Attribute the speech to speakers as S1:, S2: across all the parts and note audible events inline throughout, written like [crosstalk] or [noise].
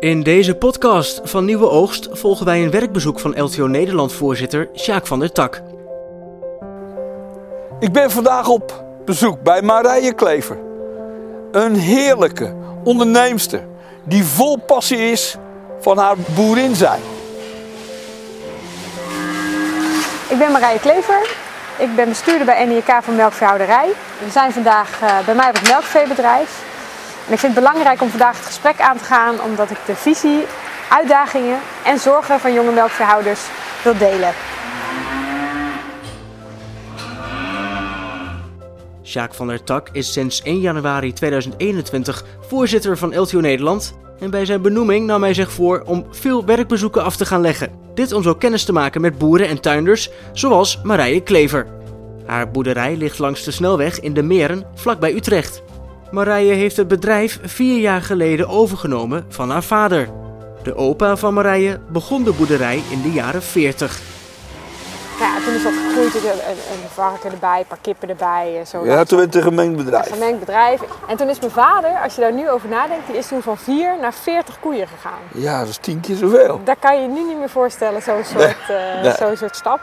S1: In deze podcast van Nieuwe Oogst volgen wij een werkbezoek van LTO Nederland-voorzitter Sjaak van der Tak.
S2: Ik ben vandaag op bezoek bij Marije Klever. Een heerlijke onderneemster die vol passie is van haar boerin zijn.
S3: Ik ben Marije Klever. Ik ben bestuurder bij NIK voor melkveehouderij. We zijn vandaag eh, bij mij op het melkveebedrijf. En ik vind het belangrijk om vandaag het gesprek aan te gaan omdat ik de visie, uitdagingen en zorgen van jonge melkveehouders wil delen.
S1: Sjaak van der Tak is sinds 1 januari 2021 voorzitter van LTO Nederland. En bij zijn benoeming nam hij zich voor om veel werkbezoeken af te gaan leggen. Dit om zo kennis te maken met boeren en tuinders, zoals Marije Klever. Haar boerderij ligt langs de snelweg in de Meren, vlakbij Utrecht. Marije heeft het bedrijf vier jaar geleden overgenomen van haar vader. De opa van Marije begon de boerderij in de jaren 40.
S3: Nou ja, toen is dat gegroeid, een, een, een varken erbij, een paar kippen erbij. eh, Zo
S2: Ja, toen werd het een gemengd bedrijf.
S3: Een gemengd bedrijf. En toen is mijn vader, als je daar nu over nadenkt, die is toen van 4 naar 40 koeien gegaan.
S2: Ja, dat is tien keer zoveel.
S3: Dat kan je je nu niet meer voorstellen, zo'n soort, eh,
S2: nee.
S3: zo'n soort stap.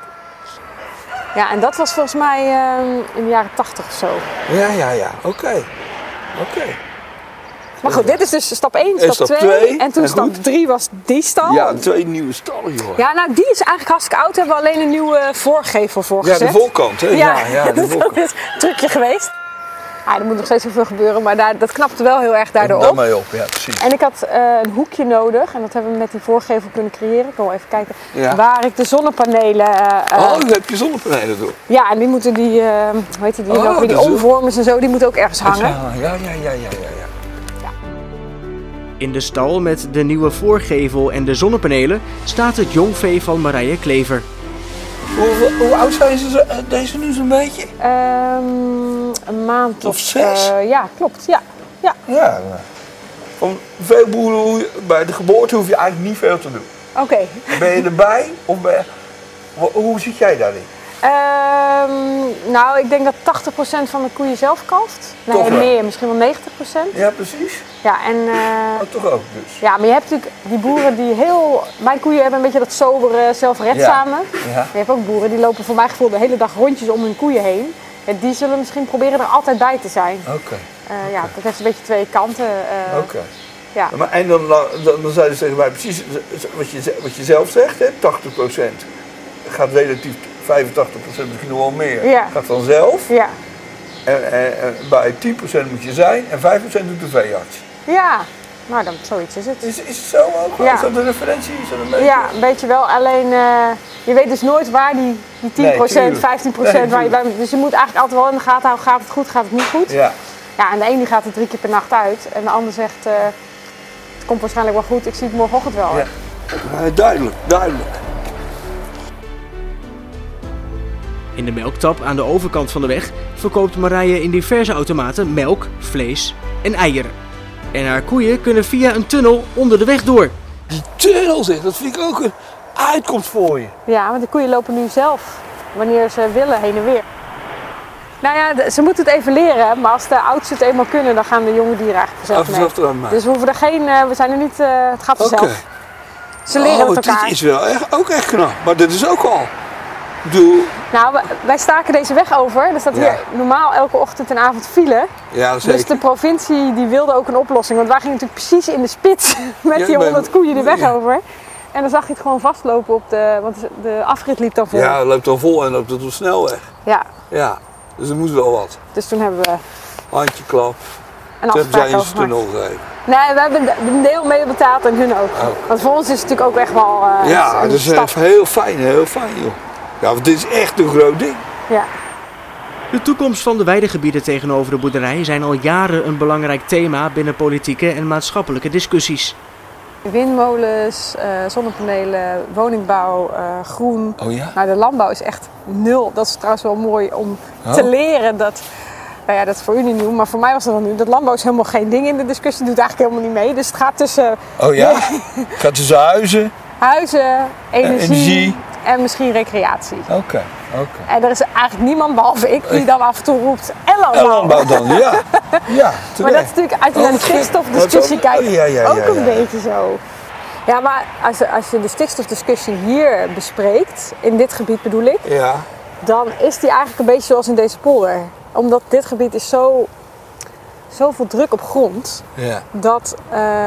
S3: Ja, en dat was volgens mij eh, in de jaren 80 of zo.
S2: Ja, ja, ja. Oké. Oké.
S3: Maar goed, dit is dus stap 1,
S2: En
S3: stap
S2: stap
S3: 2.
S2: twee.
S3: En toen
S2: En
S3: stap
S2: goed.
S3: 3 was die stal.
S2: Ja, twee nieuwe stallen, joh.
S3: Ja, nou die is eigenlijk hartstikke oud. Hebben we alleen een nieuwe voorgevel voor
S2: Ja,
S3: gezet.
S2: de voorkant, hè? Ja,
S3: [laughs]
S2: ja, de
S3: dat
S2: voorkant.
S3: is een trucje geweest. Ah, er moet nog steeds zoveel gebeuren, maar daar, dat knapte wel heel erg daardoor
S2: Dan
S3: op.
S2: mee op, ja, precies.
S3: En ik had eh, een hoekje nodig en dat hebben we met die voorgevel kunnen creëren. Ik wil even kijken
S2: Ja.
S3: waar ik de zonnepanelen... eh, eh,
S2: Oh, dan heb je zonnepanelen door.
S3: Ja, en die moeten die, eh hoe heet die, die,
S2: Oh,
S3: ook weer die
S2: dat is-
S3: omvormers en zo, die moeten ook ergens hangen.
S2: Ja, ja, ja, ja, ja, ja.
S1: In de stal met de nieuwe voorgevel en de zonnepanelen staat het jongvee van Marije Klever.
S2: Hoe, hoe- hoe oud zijn ze zo- eh, deze nu zo'n beetje?
S3: Ehm, een maand
S2: Of zes?
S3: eh, ja, klopt. Ja. ja.
S2: Ja. nou, Van veel boeren, hoe je- bij de geboorte hoef je eigenlijk niet veel te doen.
S3: Oké.
S2: Ben je erbij? Of ben je- Ho- Hoe zit jij daarin?
S3: Ehm, nou, ik denk dat 80% van de koeien zelf kalft. Nee,
S2: Toch wel.
S3: meer, misschien wel 90%.
S2: Ja, precies.
S3: Ja, en... eh,
S2: Maar toch ook dus.
S3: ja, maar je hebt natuurlijk die boeren die heel... Mijn koeien hebben een beetje dat sobere, zelfredzame.
S2: Ja.
S3: Maar je hebt ook boeren die lopen voor mijn gevoel de hele dag rondjes om hun koeien heen. En die zullen misschien proberen er altijd bij te zijn.
S2: Oké.
S3: Eh, ja, dat heeft een beetje twee kanten. eh,
S2: Oké.
S3: Ja.
S2: Maar En dan, dan, dan zou je zeggen, maar precies wat je, ze- wat je zelf zegt, hè, 80% gaat relatief, 85% misschien nog wel meer,
S3: Ja.
S2: gaat vanzelf.
S3: Ja.
S2: En, en, en bij 10% moet je zijn en 5% doet de veearts.
S3: Ja. Nou, dan, zoiets is het.
S2: Is, is het zo ook?
S3: Ja.
S2: Is dat een referentie? Is dat een beetje...
S3: Ja, weet je wel. Alleen, eh, je weet dus nooit waar die, die 10%,
S2: Nee,
S3: 15%
S2: tuurlijk. Nee,
S3: waar je bij moet. Dus je moet eigenlijk altijd wel in de gaten houden. Gaat het goed, gaat het niet goed?
S2: Ja.
S3: Ja, en de ene die gaat er drie keer per nacht uit. En de ander zegt, eh, het komt waarschijnlijk wel goed. Ik zie het morgenochtend wel.
S2: Ja. Eh, duidelijk, duidelijk.
S1: In de melktap aan de overkant van de weg verkoopt Marije in diverse automaten melk, vlees en eieren. En haar koeien kunnen via een tunnel onder de weg door.
S2: Die tunnel zeg, dat vind ik ook een uitkomst voor je.
S3: Ja, want de koeien lopen nu zelf, wanneer ze willen, heen en weer. Nou ja, de- ze moeten het even leren. Maar als de oudste het eenmaal kunnen, dan gaan de jonge dieren eigenlijk
S2: Even
S3: vanzelf mee.
S2: zelf eraan maken.
S3: Dus we hoeven er geen, eh, we zijn er niet, eh, het gaat
S2: Oké.
S3: vanzelf. Ze leren
S2: oh,
S3: het
S2: dit
S3: elkaar.
S2: is wel echt, ook echt knap. Maar dit is ook al. Ik bedoel,
S3: Nou, we- wij staken deze weg over. Er staat
S2: Ja.
S3: hier normaal elke ochtend en avond file.
S2: ja zeker.
S3: Dus de provincie die wilde ook een oplossing. Want wij gingen natuurlijk precies in de spits [laughs] met
S2: Ja,
S3: die
S2: bij-
S3: 100 koeien de weg
S2: ja.
S3: over. En dan zag je het gewoon vastlopen op de... Want de afrit liep dan vol.
S2: Ja, het loopt dan vol en loopt het op snelweg.
S3: Ja.
S2: Ja, dus er moet wel wat.
S3: Dus toen hebben we
S2: Handje klap,
S3: een
S2: tenzij
S3: afspraak
S2: je
S3: over
S2: ze tunnel
S3: gemaakt.
S2: geven.
S3: Nee, we hebben een deel mee betaald en hun ook.
S2: Oh.
S3: Want voor ons is het natuurlijk ook echt wel eh,
S2: Ja, dus,
S3: een
S2: dat is
S3: stap.
S2: echt heel fijn, heel fijn joh. Ja, want dit is echt een groot ding.
S3: Ja.
S1: De toekomst van de weidegebieden tegenover de boerderij zijn al jaren een belangrijk thema binnen politieke en maatschappelijke discussies.
S3: Windmolens, eh, zonnepanelen, woningbouw, eh, groen.
S2: Oh ja?
S3: Nou, de landbouw is echt nul. Dat is trouwens wel mooi om te
S2: Oh.
S3: leren. Dat, nou ja, dat is voor u niet nieuw, maar voor mij was dat dan nieuw. Dat landbouw is helemaal geen ding in de discussie, doet eigenlijk helemaal niet mee. Dus het gaat tussen
S2: Oh ja? Gaat tussen huizen.
S3: huizen, energie,
S2: energie.
S3: en misschien recreatie.
S2: Oké, oké.
S3: En er is eigenlijk niemand behalve ik die dan af en toe roept en
S2: En
S3: landbouw.
S2: landbouw dan,
S3: [laughs]
S2: ja. Ja,
S3: Maar dat is
S2: terecht.
S3: natuurlijk uit de naar de
S2: Oh, shit.
S3: stikstofdiscussie
S2: Oh, zo.
S3: kijkt
S2: Oh, ja, ja, ja,
S3: ook een
S2: ja.
S3: beetje zo. Ja, maar als, je- als je de stikstofdiscussie hier bespreekt, in dit gebied bedoel ik,
S2: Ja,
S3: dan is die eigenlijk een beetje zoals in deze polder. Omdat dit gebied is zo, zoveel druk op grond,
S2: ja.
S3: dat eh,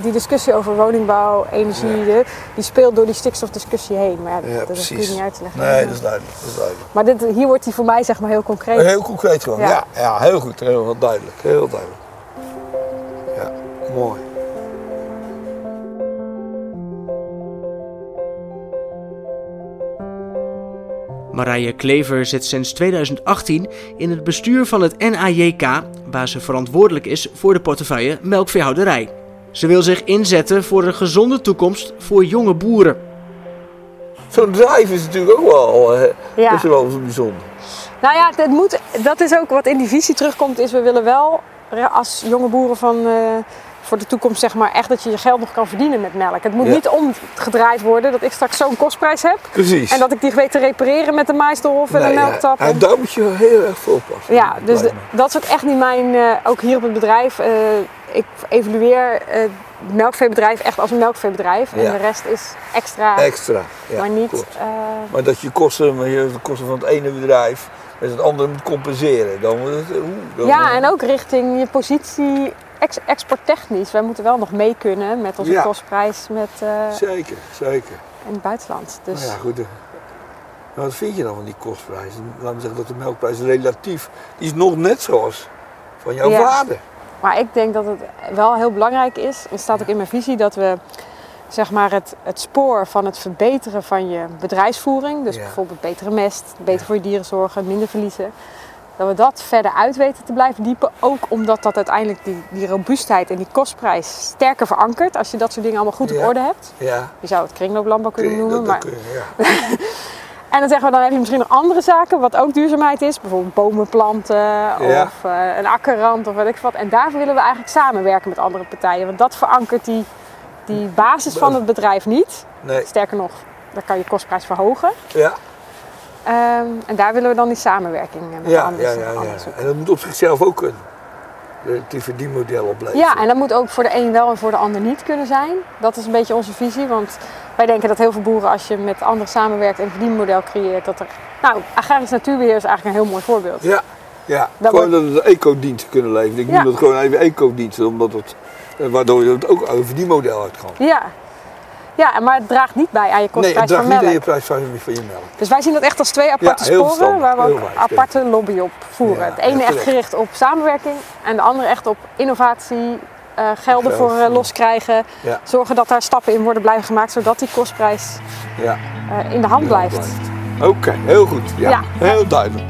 S3: die discussie over woningbouw, energie, de- die speelt door die stikstofdiscussie heen. Maar ja,
S2: Ja,
S3: dat dat is natuurlijk
S2: precies.
S3: niet uit te leggen.
S2: Nee, dat is duidelijk. Dat is duidelijk.
S3: Maar dit, hier wordt die voor mij zeg maar heel concreet.
S2: Heel concreet gewoon.
S3: Ja.
S2: Ja, ja, heel goed. Heel duidelijk. Heel duidelijk. Ja, mooi.
S1: Marije Klever zit sinds 2018 in het bestuur van het NAJK, waar ze verantwoordelijk is voor de portefeuille melkveehouderij. Ze wil zich inzetten voor een gezonde toekomst voor jonge boeren.
S2: Zo'n drijf is natuurlijk ook wel, eh,
S3: Ja.
S2: dat is wel zo bijzonder.
S3: Nou ja, het moet, dat is ook wat in die visie terugkomt, is we willen wel als jonge boeren van, eh, voor de toekomst zeg maar echt dat je je geld nog kan verdienen met melk. Het moet
S2: Ja.
S3: niet omgedraaid worden dat ik straks zo'n kostprijs heb
S2: Precies.
S3: en dat ik die weet te repareren met de maisdorf en
S2: Nee,
S3: de
S2: ja,
S3: melktap.
S2: en daar moet je heel erg voor oppassen.
S3: Ja, dus
S2: Lijkt
S3: de-
S2: me.
S3: dat is ook echt niet mijn, eh, ook hier op het bedrijf, eh, ik evalueer eh, het melkveebedrijf echt als een melkveebedrijf en
S2: Ja.
S3: de rest is extra,
S2: Extra. Ja,
S3: maar niet...
S2: klopt.
S3: eh,
S2: Maar dat je kosten, maar je de kosten van het ene bedrijf met het andere moet compenseren. Dan, wordt het- oeh, dan
S3: Ja, en ook richting je positie ex exporttechnisch. Wij moeten wel nog mee kunnen met onze
S2: Ja.
S3: kostprijs met, eh,
S2: Zeker, zeker.
S3: in het buitenland. Dus
S2: Nou ja, goed. eh, Maar wat vind je dan van die kostprijs? Laten we zeggen dat de melkprijs relatief die is nog net zoals van jouw
S3: Ja.
S2: vader.
S3: Maar ik denk dat het wel heel belangrijk is, en staat ook in mijn visie, dat we zeg maar, het, het spoor van het verbeteren van je bedrijfsvoering, dus
S2: Ja.
S3: bijvoorbeeld betere mest, beter voor je dieren zorgen, minder verliezen, dat we dat verder uit weten te blijven diepen. Ook omdat dat uiteindelijk die, die robuustheid en die kostprijs sterker verankert als je dat soort dingen allemaal goed op
S2: Ja.
S3: orde hebt.
S2: Ja,
S3: Je zou het kringlooplandbouw kunnen
S2: kun je-
S3: noemen,
S2: dat, dat
S3: maar
S2: kun je, ja.
S3: En dan zeggen we, dan heb je misschien nog andere zaken, wat ook duurzaamheid is. Bijvoorbeeld bomen planten of eh, een akkerrand of weet ik wat. En daarvoor willen we eigenlijk samenwerken met andere partijen. Want dat verankert die, die basis van het bedrijf niet.
S2: Nee,
S3: Sterker nog, dan kan je kostprijs verhogen.
S2: ja,
S3: Ehm, en daar willen we dan die samenwerking eh, met
S2: ja,
S3: anderen
S2: ja,
S3: en
S2: ja,
S3: anderen
S2: ja.
S3: zoeken.
S2: En dat moet op zichzelf ook een relatief verdienmodel opleveren.
S3: Ja, en dat moet ook voor de een wel en voor de ander niet kunnen zijn. Dat is een beetje onze visie, want wij denken dat heel veel boeren als je met anderen samenwerkt en een verdienmodel creëert, dat er... Nou, agrarisch natuurbeheer is eigenlijk een heel mooi voorbeeld.
S2: Ja, ja.
S3: Dat
S2: gewoon dat het ecodiensten kunnen leveren. Ik
S3: Ja.
S2: noem dat gewoon even ecodiensten, omdat het, eh, waardoor je het ook over die model uit kan.
S3: Ja. Ja, maar het draagt niet bij aan je
S2: Nee, het
S3: kostprijs
S2: draagt
S3: van
S2: niet aan
S3: melk.
S2: je prijs van, van je melk.
S3: Dus wij zien dat echt als twee aparte
S2: heel
S3: sporen
S2: verstandig,
S3: waar we
S2: heel
S3: ook
S2: wijs,
S3: aparte lobby op voeren.
S2: Ja,
S3: het
S2: ja,
S3: ene echt
S2: terecht.
S3: gericht op samenwerking en de andere echt op innovatie, eh, gelden
S2: Geld, hmm.
S3: voor eh,
S2: ja.
S3: loskrijgen.
S2: Ja.
S3: Zorgen dat daar stappen in worden blijven gemaakt zodat die kostprijs
S2: Ja,
S3: eh, in de hand blijft.
S2: Oké, heel goed. Ja,
S3: Ja.
S2: heel duidelijk.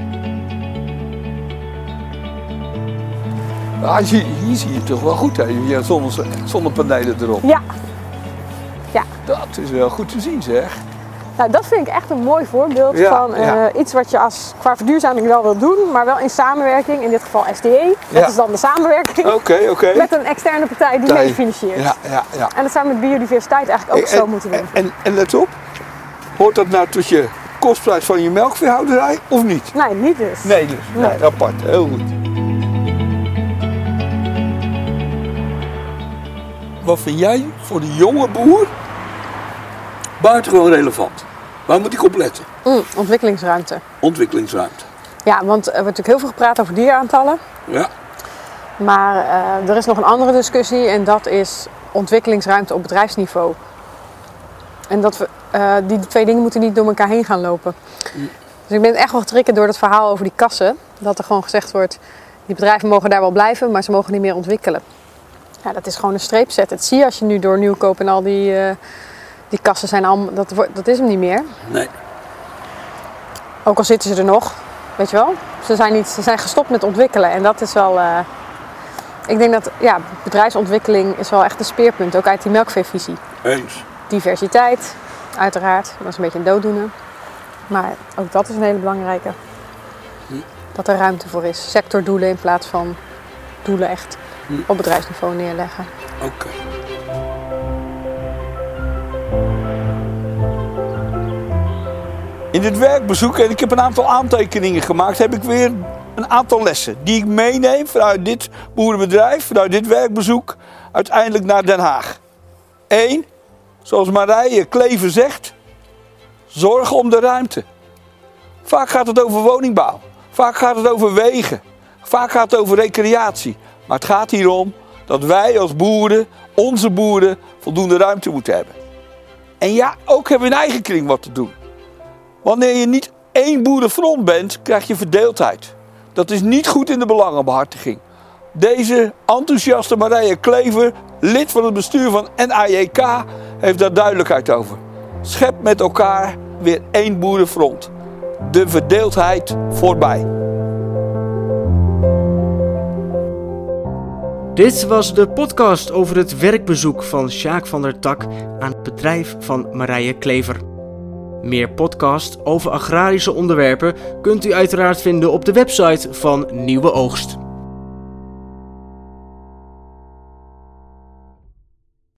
S2: Ah, hier, hier zie je het toch wel goed, hè? Hier zonne, zonnepanelen erop.
S3: Ja,
S2: Dat is wel goed te zien, zeg.
S3: nou, dat vind ik echt een mooi voorbeeld
S2: Ja,
S3: van eh,
S2: ja.
S3: iets wat je als, qua verduurzaming wel wil doen, maar wel in samenwerking, in dit geval SDE. Dat
S2: Ja.
S3: is dan de samenwerking
S2: Oké, oké.
S3: met een externe partij die
S2: Partij.
S3: mee financiert.
S2: Ja, ja, ja.
S3: En dat zou met biodiversiteit eigenlijk ook
S2: En-
S3: zo moeten doen.
S2: En, en, en let op, hoort dat nou tot je kostprijs van je melkveehouderij of niet?
S3: Nee, niet dus.
S2: Nee, dus. Nee,
S3: Nee.
S2: apart. Heel goed. Wat vind jij voor de jonge boer buitengewoon relevant? Waar moet ik op letten?
S3: Mm, ontwikkelingsruimte.
S2: Ontwikkelingsruimte.
S3: Ja, want er wordt natuurlijk heel veel gepraat over dieraantallen.
S2: Ja,
S3: Maar eh, er is nog een andere discussie en dat is ontwikkelingsruimte op bedrijfsniveau. En dat we, eh, die twee dingen moeten niet door elkaar heen gaan lopen. Dus ik ben echt wel getriggerd door dat verhaal over die kassen. Dat er gewoon gezegd wordt, die bedrijven mogen daar wel blijven, maar ze mogen niet meer ontwikkelen. Ja, dat is gewoon een streep zetten. Dat zie je als je nu door Nieuwkoop en al die, eh, die kassen zijn allemaal... Dat, wordt- dat is hem niet meer.
S2: nee.
S3: Ook al zitten ze er nog, weet je wel. Ze zijn, niet, ze zijn gestopt met ontwikkelen. En dat is wel... eh, ik denk dat ja, bedrijfsontwikkeling is wel echt een speerpunt. Ook uit die melkveevisie.
S2: Eens.
S3: Diversiteit, uiteraard. Dat is een beetje een dooddoener. Maar ook dat is een hele belangrijke. Dat er ruimte voor is. Sectordoelen in plaats van doelen echt op bedrijfsniveau neerleggen.
S2: Oké. In dit werkbezoek, en ik heb een aantal aantekeningen gemaakt, heb ik weer een aantal lessen die ik meeneem vanuit dit boerenbedrijf, vanuit dit werkbezoek, uiteindelijk naar Den Haag. 1. Zoals Marije Kleven zegt, zorg om de ruimte. Vaak gaat het over woningbouw, vaak gaat het over wegen, vaak gaat het over recreatie. Maar het gaat hier om dat wij als boeren, onze boeren, voldoende ruimte moeten hebben. En ja, ook hebben we in eigen kring wat te doen. Wanneer je niet één boerenfront bent, krijg je verdeeldheid. Dat is niet goed in de belangenbehartiging. Deze enthousiaste Marije Klever, lid van het bestuur van NAJK, heeft daar duidelijkheid over. Schep met elkaar weer één boerenfront. De verdeeldheid voorbij.
S1: Dit was de podcast over het werkbezoek van Sjaak van der Tak aan het bedrijf van Marije Klever. Meer podcasts over agrarische onderwerpen kunt u uiteraard vinden op de website van Nieuwe Oogst.